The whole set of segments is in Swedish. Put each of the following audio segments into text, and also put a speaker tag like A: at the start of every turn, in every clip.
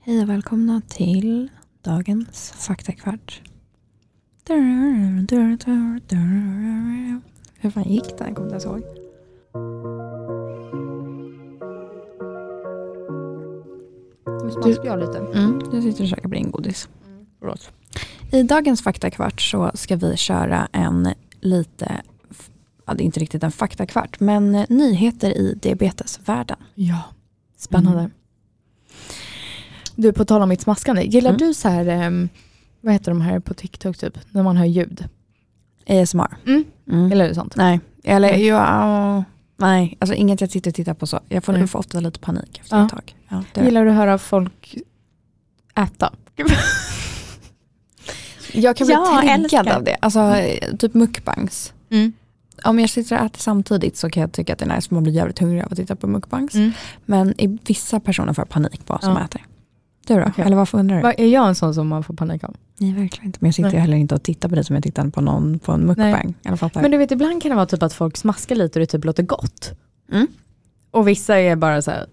A: Hej och välkomna till dagens faktakvart. Hur fan gick den? Kommer du ens ihåg?
B: Nu
A: Du-
B: smaskar jag lite.
A: jag sitter och käkar blindgodis. Förlåt. I dagens faktakvart så ska vi köra en lite, ja, det är inte riktigt en faktakvart, men nyheter i diabetesvärlden.
B: Ja, spännande.
A: Mm.
B: Du, på tal om mitt smaskande. Gillar
A: Mm.
B: du så här, ehm, vad heter de här på TikTok typ? När man hör ljud.
A: ASMR.
B: Mm.
A: Mm.
B: Gillar du sånt?
A: Nej, eller
B: Nej.
A: ja, nej, alltså inget jag sitter och tittar på så. Jag får,
B: Nej.
A: jag får ofta lite panik efter
B: Ja.
A: ett tag. Ja, det-
B: Gillar du att höra folk äta? jag kan bli
A: jag blir
B: triggad
A: triggad av det. Alltså eh, typ mukbangs.
B: Mm.
A: Om jag sitter och äter samtidigt så kan jag tycka att det är nice för man blir jävligt hungrig av att titta på mukbangs.
B: Mm.
A: Men i vissa personer får jag panik på vad som
B: Ja.
A: äter. Du då?
B: Okej.
A: Eller varför undrar du?
B: Va, Är jag en sån som man får panik av?
A: Nej verkligen inte. Men jag sitter
B: Nej.
A: ju heller inte och tittar på det som jag tittar på någon på en mukbang. Eller fattar.
B: Men du vet, ibland kan det vara typ att folk smaskar lite och det typ låter gott.
A: Mm.
B: Och vissa är bara så här,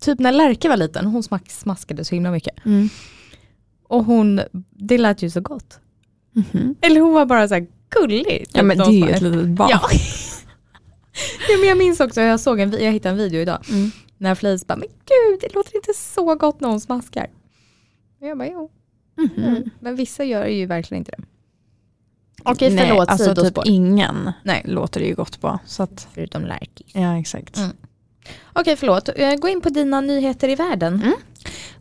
B: typ när Lärke var liten, hon smak- smaskade så himla mycket.
A: Mm.
B: Och hon, det lät ju så gott.
A: Mhm.
B: Eller hon var bara så här gullig. typ,
A: Ja men det
B: som
A: är ju
B: fan.
A: ett litet barn.
B: Ja. ja, men jag minns också, jag, såg en, vi- jag hittade en video idag
A: Mm.
B: när Flis bara, men gud det låter inte så gott när hon smaskar. Och jag bara, jo.
A: Mhm.
B: Mm. Men vissa gör ju verkligen inte det. Okej,
A: Nej,
B: förlåt
A: alltså typ
B: sidospår.
A: ingen
B: Nej.
A: låter det ju gott på. Så att,
B: Förutom Lärki.
A: ja exakt.
B: Mm. Okej, förlåt. Eh, Gå in på dina nyheter i världen.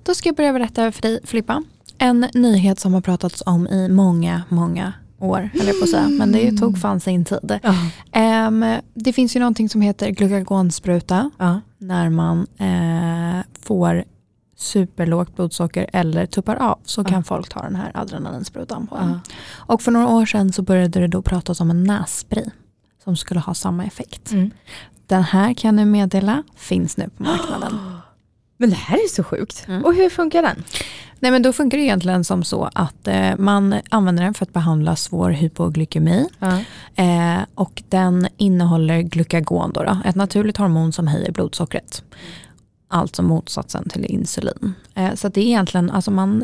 A: Då ska jag börja berätta för dig Filippa. En nyhet som har pratats om i många, många år höll jag på att säga. Men det tog fan sin tid. Ehm, det finns ju någonting som heter glukagonspruta.
B: Ja.
A: När man eh, får superlågt blodsocker eller tuppar av så kan folk ta den här adrenalinsprutan på en.
B: Mm.
A: Och för några år sedan så började det då pratas om en nässpray som skulle ha samma effekt.
B: Mm.
A: Den här kan jag nu meddela finns nu på marknaden.
B: Men det här är så sjukt.
A: Mm.
B: Och hur funkar den?
A: Nej men då funkar det egentligen som så att eh, man använder den för att behandla svår hypoglykemi eh, och den innehåller glukagon, då då, ett naturligt hormon som höjer blodsockret. Alltså motsatsen till insulin. Eh, så att det är egentligen, alltså man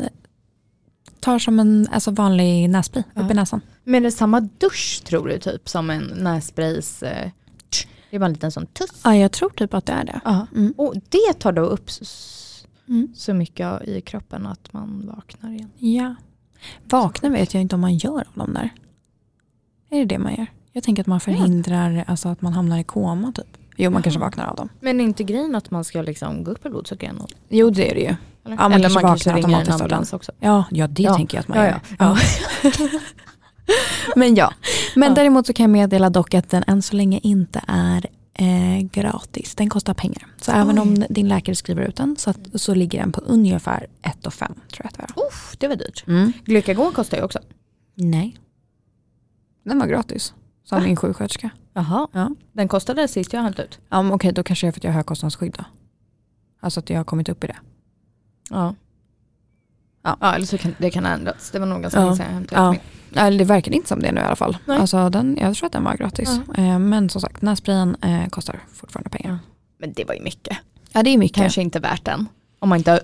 A: tar som en alltså vanlig nässpray upp
B: Ja.
A: i näsan.
B: Men det är samma dusch tror du typ som en nässprays? Eh, tsch. det är bara en liten sån tuss.
A: Ja jag tror typ att det är det. Mm.
B: Och det tar då upp s- s-
A: Mm.
B: så mycket i kroppen att man vaknar igen.
A: Ja. Vakna vet jag inte om man gör av dem där. Är det det man gör? Jag tänker att man förhindrar alltså, att man hamnar i koma typ. Jo man kanske vaknar av dem.
B: Men är inte grejen att man ska liksom gå upp i blodsocker igen? och-
A: Jo det är det ju.
B: Eller?
A: Ja, man
B: Eller
A: kanske
B: man kanske
A: vaknar
B: ringer en
A: automatiskt av
B: ambulans också.
A: Ja, ja det
B: Ja,
A: tänker jag att man
B: ja,
A: gör.
B: ja.
A: Men ja. Men
B: Ja.
A: däremot så kan jag meddela dock att den än så länge inte är eh, gratis. Den kostar pengar. Så även
B: Oj.
A: om din läkare skriver ut den så, att, så ligger den på ungefär 1 och 5 tror jag att det är.
B: Uff, det var dyrt.
A: Mm.
B: Glukagon kostar ju också.
A: Nej. Den var gratis. Sa
B: Va?
A: min sjuksköterska.
B: Jaha.
A: Ja.
B: Den kostade sist jag hämtade ut.
A: Ja, men okej, då kanske det är för att jag har högkostnadsskydd då. Alltså att jag har kommit upp i det.
B: Ja. Ja, eller så kan det kan ha ändrats. Det var nog ganska
A: Ja.
B: länge sedan jag hämtade
A: Ja.
B: ut min.
A: Eller det verkar inte som det nu i alla fall.
B: Nej.
A: Alltså den, jag tror att den var gratis. Eh, men som sagt, nässprayen eh, kostar fortfarande pengar.
B: Ja. Men det var ju mycket.
A: Ja det är mycket.
B: Kanske inte värt den. Om man inte har...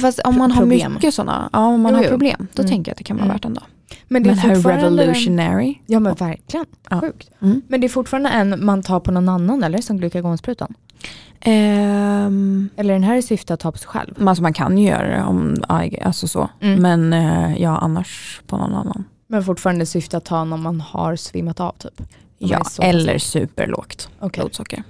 A: Fast om man har
B: Problem.
A: mycket sådana, ja om man
B: Jo,
A: har
B: jo.
A: problem, då
B: Mm.
A: tänker jag att det kan vara
B: Mm.
A: värt ändå.
B: Men
A: Men här revolutionary.
B: Ja men verkligen.
A: Ja.
B: Sjukt.
A: Mm.
B: Men det är fortfarande en man tar på någon annan eller? Som glukagonsprutan.
A: Ehm,
B: Eller den här är i syfte att ta på sig själv.
A: alltså man kan ju göra det om, alltså så.
B: Mm.
A: Men eh, ja annars på någon annan.
B: Men fortfarande i syfte att ta när man har svimmat av typ. Om man
A: Ja,
B: är så-
A: eller superlågt
B: Okej.
A: blodsocker.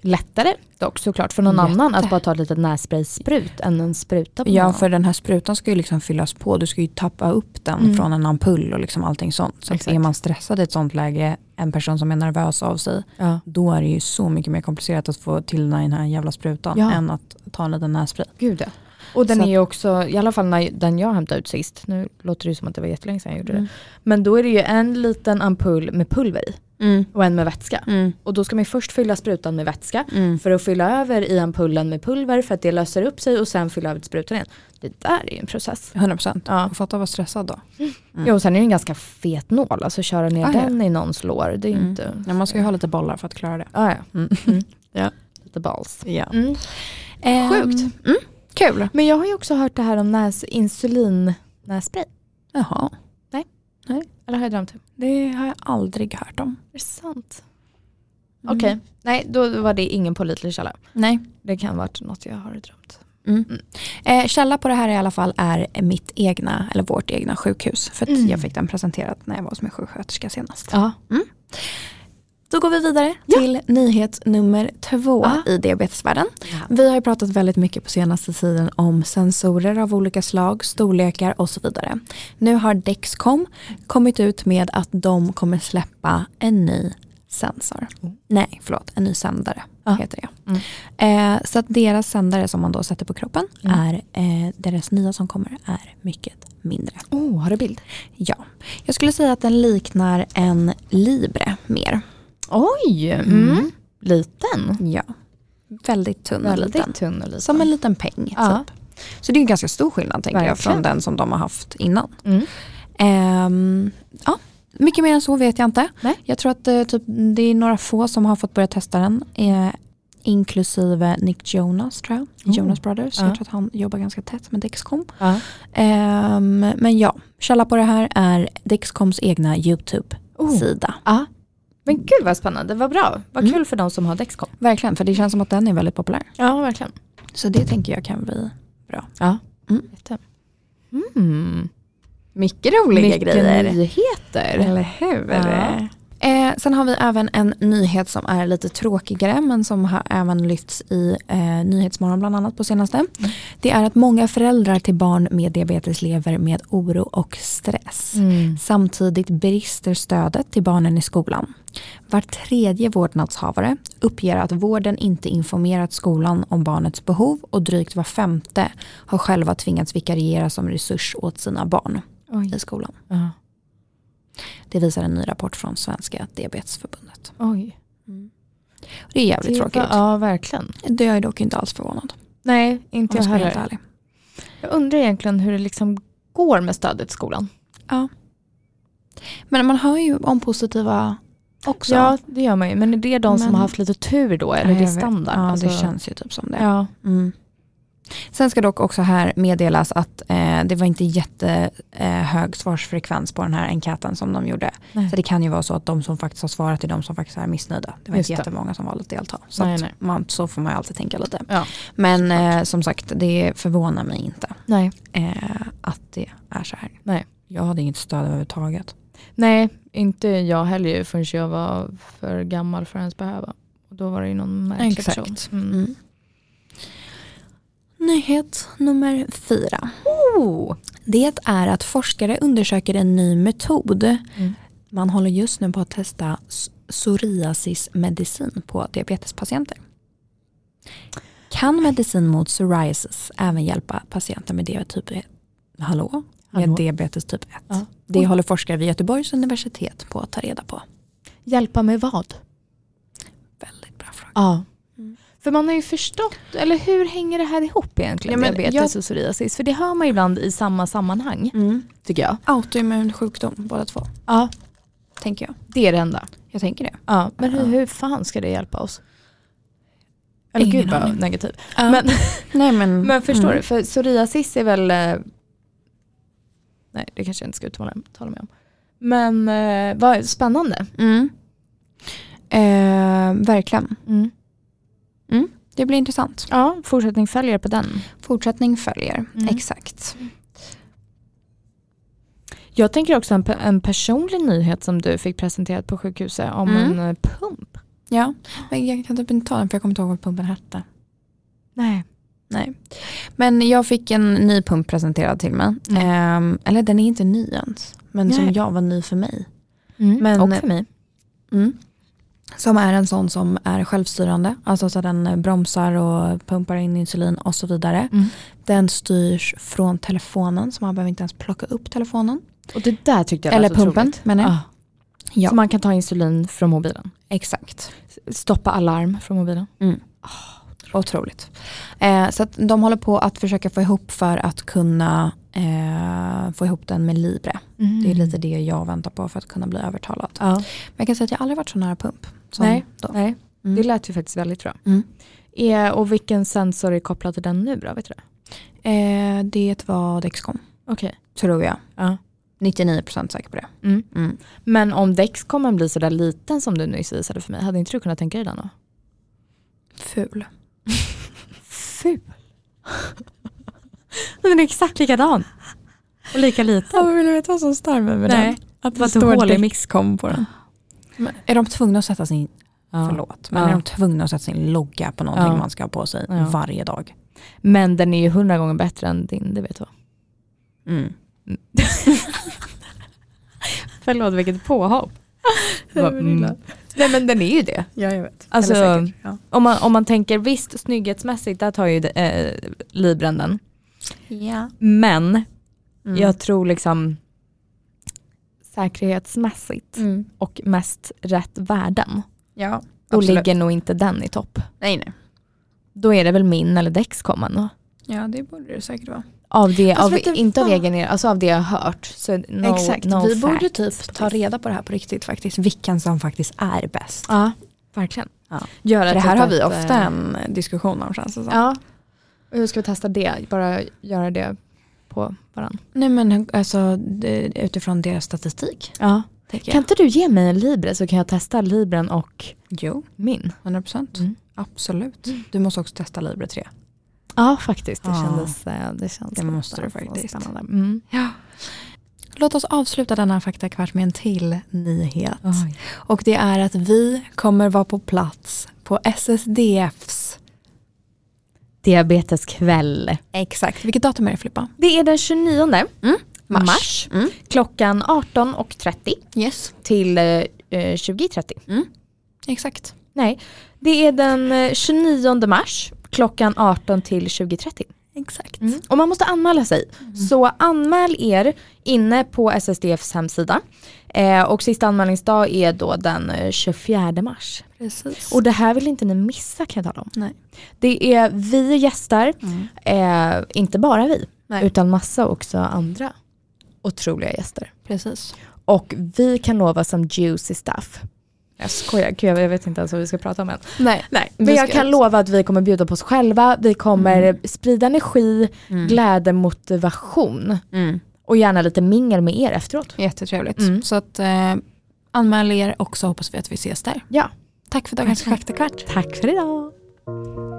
B: Lättare dock såklart för någon
A: Jätte.
B: annan att bara ta ett litet nässpraysprut än en spruta på någon
A: Ja
B: annan.
A: för den här sprutan ska ju liksom fyllas på, du ska ju tappa upp den
B: Mm.
A: från en ampull och liksom allting sånt. Så att
B: Exakt.
A: är man stressad i ett sånt läge, en person som är nervös av sig,
B: Ja.
A: då är det ju så mycket mer komplicerat att få till den här jävla sprutan
B: Ja.
A: än att ta en liten nässpray.
B: Gud ja. Och den
A: Så
B: är ju också, i alla fall när den jag hämtade ut sist, nu låter det ju som att det var jättelänge sedan jag gjorde det. Men då är det ju en liten ampull med pulver i och en med vätska. Och då ska man ju först fylla sprutan med vätska för att fylla över i ampullen med pulver för att det löser upp sig och sen fylla över till sprutan igen. Det där är ju en process.
A: 100 procent.
B: Ja.
A: Och fatta att vara stressad då. Mm.
B: Jo, och sen är det en ganska fet nål, alltså köra ner
A: Ah, ja.
B: den i någons lår, det är ju inte...
A: Ja, man ska ju ha lite bollar för att klara det.
B: Ah, ja.
A: Mm.
B: Mm.
A: Ja.
B: Lite balls.
A: Ja.
B: Mm. Sjukt.
A: Mm. Kul.
B: Men jag har ju också hört det här om näs, insulinnässpray.
A: Jaha,
B: Eller har jag drömt? Är
A: det har jag aldrig hört om. Mm.
B: det sant? Okej, nej då var det ingen pålitlig källa.
A: Nej.
B: Det kan ha varit något jag har drömt.
A: Mm. Eh, källa på det här i alla fall är mitt egna, eller vårt egna sjukhus. För att
B: Mm.
A: jag fick den presenterad när jag var hos min sjuksköterska senast. Mm.
B: Ja.
A: Då går vi vidare
B: Ja.
A: till nyhet nummer två
B: Ja.
A: i diabetesvärlden. Vi har ju pratat väldigt mycket på senaste tiden om sensorer av olika slag, storlekar och så vidare. Nu har Dexcom kommit ut med att de kommer släppa en ny sensor.
B: Mm.
A: Nej, förlåt, en ny sändare
B: Ja. Mm.
A: heter det. Eh, så att deras sändare som man då sätter på kroppen är, eh, deras nya som kommer är mycket mindre.
B: Oh, har du bild?
A: Ja, jag skulle säga att den liknar en Libre mer.
B: Oj! Mm. Liten.
A: Ja, väldigt tunn och liten.
B: tunn och liten.
A: Som en liten peng
B: Ja.
A: typ. Så det är ju ganska stor skillnad tänker jag
B: Verkligen.
A: från den som de har haft innan.
B: Mm.
A: Ehm, ja, mycket mer än så vet jag inte.
B: Nej.
A: Jag tror att eh, typ, det är några få som har fått börja testa den. Eh, inklusive Nick Jonas tror jag.
B: Oh.
A: Jonas Brothers.
B: Ja.
A: Jag tror att han jobbar ganska tätt med Dexcom.
B: Ja.
A: Ehm, men ja, källa på det här är Dexcoms egna YouTube-sida.
B: Ja. Men gud vad spännande, vad bra. Vad
A: Mm.
B: kul för de som har Dexcom.
A: Oh, Verkligen, för det känns som att den är väldigt populär.
B: Ja, verkligen.
A: Så det tänker jag kan bli bra.
B: Ja.
A: Mm.
B: Jätte. Mm.
A: Mycket roliga
B: Mycket nyheter.
A: Eller hur?
B: Ja.
A: Eh, sen har vi även en nyhet som är lite tråkigare men som har även lyfts i eh, Nyhetsmorgon bland annat på senaste. Det är att många föräldrar till barn med diabetes lever med oro och stress.
B: Mm.
A: Samtidigt brister stödet till barnen i skolan. Var tredje vårdnadshavare uppger att vården inte informerat skolan om barnets behov och drygt var femte har själva tvingats vikariera som resurs åt sina barn
B: Oj.
A: i skolan. Det visar en ny rapport från Svenska Diabetesförbundet.
B: Oj.
A: Mm. Det är jävligt tråkigt.
B: Ja, verkligen.
A: Det är jag dock inte alls förvånad.
B: Nej, inte
A: Om jag
B: jag
A: ska vara helt
B: heller.
A: ärlig.
B: Jag undrar egentligen hur det liksom går med stödet i skolan.
A: Men man hör ju om positiva också.
B: Ja, det gör man ju. Men är det de som
A: Men-
B: har haft lite tur då? Eller
A: Ja,
B: är det
A: jag vet.
B: standard?
A: Ja,
B: Alltså-
A: det känns ju typ som det.
B: Ja.
A: Mm. Sen ska dock också här meddelas att eh, det var inte jättehög svarsfrekvens på den här enkäten som de gjorde.
B: Nej.
A: Så det kan ju vara så att de som faktiskt har svarat är de som faktiskt är missnöjda. Det var
B: Just
A: inte
B: det.
A: jättemånga som valde att delta. Så,
B: Nej,
A: att
B: nej.
A: Man, så får man ju alltid tänka lite.
B: Ja.
A: Men eh, som sagt, det förvånar mig inte
B: Nej.
A: eh, att det är så här.
B: Nej.
A: Jag hade inget stöd överhuvudtaget.
B: Nej, inte jag heller ju förrän jag var för gammal för att ens behöva. Och då var det ju någon märklig
A: Exakt.
B: person. Mm.
A: Mm. Nyhet nummer fyra.
B: Oh.
A: Det är att forskare undersöker en ny metod.
B: Mm.
A: Man håller just nu på att testa s- psoriasismedicin på diabetespatienter. Kan medicin mot psoriasis även hjälpa patienter med diabetes typ Hallå? Med
B: Hallå?
A: diabetes typ 1.
B: Ja.
A: Det håller forskare vid Göteborgs universitet på att ta reda på.
B: Hjälpa med vad?
A: Väldigt bra fråga.
B: Ja.
A: Mm.
B: För man har ju förstått, eller hur hänger det här ihop egentligen?
A: Ja, men
B: diabetes och psoriasis. För det hör man ju ibland i samma sammanhang,
A: Mm.
B: tycker jag.
A: Autoimmun sjukdom båda två,
B: Ja,
A: tänker jag.
B: det är det enda.
A: Jag tänker det.
B: Ja, men
A: Ja.
B: hur, hur fan ska det hjälpa oss? Eller
A: Ingen
B: gud vad
A: aning.
B: negativ.
A: Ja.
B: Men,
A: Nej, men,
B: men förstår
A: mm.
B: du, för psoriasis är väl... eh, Nej, det kanske jag inte ska uttala tala mig om. Men eh, vad spännande.
A: Mm. Eh, verkligen.
B: Mm.
A: Det blir intressant.
B: Ja, fortsättning följer på den.
A: Fortsättning följer.
B: Mm.
A: Exakt.
B: Jag tänker också en, pe- en personlig nyhet som du fick presenterat på sjukhuset om
A: Mm.
B: en eh, pump.
A: Ja, men jag kan typ inte ta den för jag kommer inte ihåg vad pumpen hette.
B: Nej.
A: Nej. Men jag fick en ny pump presenterad till mig.
B: Mm.
A: Ehm, eller den är inte ny ens. Men som
B: Nej.
A: jag var ny för mig.
B: Men,
A: Och
B: Mm. och
A: för
B: för mig. Mm.
A: Som är en sån som är självstyrande. Alltså så den eh, bromsar och pumpar in insulin och så vidare.
B: Mm.
A: Den styrs från telefonen så man behöver inte ens plocka upp telefonen.
B: Och det där tyckte jag
A: Eller
B: lät otroligt.
A: pumpen menar jag.
B: Ah.
A: Ja.
B: Så man kan ta insulin från mobilen.
A: Exakt.
B: Stoppa alarm från mobilen.
A: Otroligt. Eh, så att de håller på att försöka få ihop för att kunna eh, få ihop den med Libre. Det är lite det jag väntar på för att kunna bli övertalad.
B: Mm. Ja.
A: Men jag kan säga att jag aldrig varit så nära pump. Som
B: Nej.
A: Då.
B: Nej,
A: Mm.
B: det lät ju faktiskt väldigt bra.
A: Mm.
B: Eh, och vilken sensor är kopplad till den nu då? Vet du det?
A: Eh, det var Dexcom,
B: Okej.
A: tror jag.
B: Ja.
A: 99% säker på det.
B: Mm.
A: Mm.
B: Men om Dexcomen blir sådär liten som du nyss visade för mig, hade inte du kunnat tänka dig den då?
A: Ful.
B: Ful. den är exakt likadan. Och lika liten.
A: Ja, men vill du veta vad som stör mig med
B: Nej.
A: den? Att
B: Vad
A: står
B: dålig.
A: Dexcom på den. Men är de tvungna att sätta sin, förlåt, men
B: Ja.
A: är de tvungna att sätta sin logga på någonting
B: Ja.
A: man ska ha på sig
B: Ja.
A: varje dag?
B: Men den är ju hundra gånger bättre än din, det vet du.
A: Mm.
B: Förlåt vilket påhopp. Bara, mm. Nej men den är ju det.
A: Ja, jag vet.
B: Alltså,
A: Eller säkert, ja.
B: Om man, om man tänker visst snygghetsmässigt, där tar ju eh, Libren den. Men
A: Mm.
B: jag tror liksom säkerhetsmässigt
A: Mm.
B: och mest rätt värden.
A: Ja,
B: Då
A: absolut.
B: ligger nog inte den i topp.
A: Nej, nej.
B: Då är det väl min eller Dexcomen då.
A: Ja, det borde det säkert vara.
B: Av det,
A: Fast
B: av,
A: vet du
B: inte av
A: vad?
B: egen er- alltså av det jag har hört. Så no,
A: Exakt,
B: no
A: vi borde
B: facts
A: typ ta reda på det här på riktigt faktiskt. Vilken som faktiskt är bäst.
B: Ja, verkligen.
A: Ja.
B: Göra
A: För det
B: typ
A: här har
B: ett,
A: vi
B: eh,
A: ofta en diskussion om känns det som.
B: Ja. Och hur ska vi testa det? Bara göra det på varandra.
A: Nej men alltså det, utifrån deras statistik.
B: Ja.
A: Tänker
B: Kan
A: jag.
B: inte du ge mig en Libre så kan jag testa Libren och
A: Jo,
B: min?
A: 100 procent.
B: Mm.
A: Absolut. Du måste också testa Libre 3.
B: Ja faktiskt, det
A: Ah. Ja.
B: kändes... eh, Det, känns
A: Det måste du
B: så
A: faktiskt.
B: Spännande. Mm.
A: Ja. Låt oss avsluta denna faktakvart med en till nyhet.
B: Oj.
A: Och det är att vi kommer vara på plats på SSDFs.
B: Diabeteskväll.
A: Exakt. Vilket datum är det Filippa?
B: Det är den 29 mars,
A: Mm.
B: klockan 18.30
A: Yes.
B: till eh, 20.30.
A: Exakt.
B: Nej, det är den eh, 29 mars klockan 18 till 20.30.
A: Exakt.
B: Mm. Och man måste anmäla sig.
A: Mm.
B: Så anmäl er inne på SSDFs hemsida. Eh, och sista anmälningsdag är då den eh, 24 mars.
A: Precis.
B: Och det här vill inte ni missa kan jag tala om.
A: nej. Mm.
B: Det är vi gästar, eh, inte bara vi,
A: Nej.
B: utan massa också andra otroliga gäster.
A: Precis.
B: Och vi kan lova some juicy stuff. Jag skojar, Gud, jag vet inte ens vad vi ska prata om än.
A: Nej.
B: Nej,
A: vi
B: men jag
A: ska-
B: kan lova att vi kommer bjuda på oss själva, vi kommer sprida energi, glädje, motivation
A: Mm.
B: och gärna lite mingel med er efteråt.
A: Jättetrevligt.
B: Mm.
A: Så att, eh, anmäl er och så hoppas vi att vi ses där.
B: Ja,
A: Tack för dagens faktakvart.
B: tack för idag.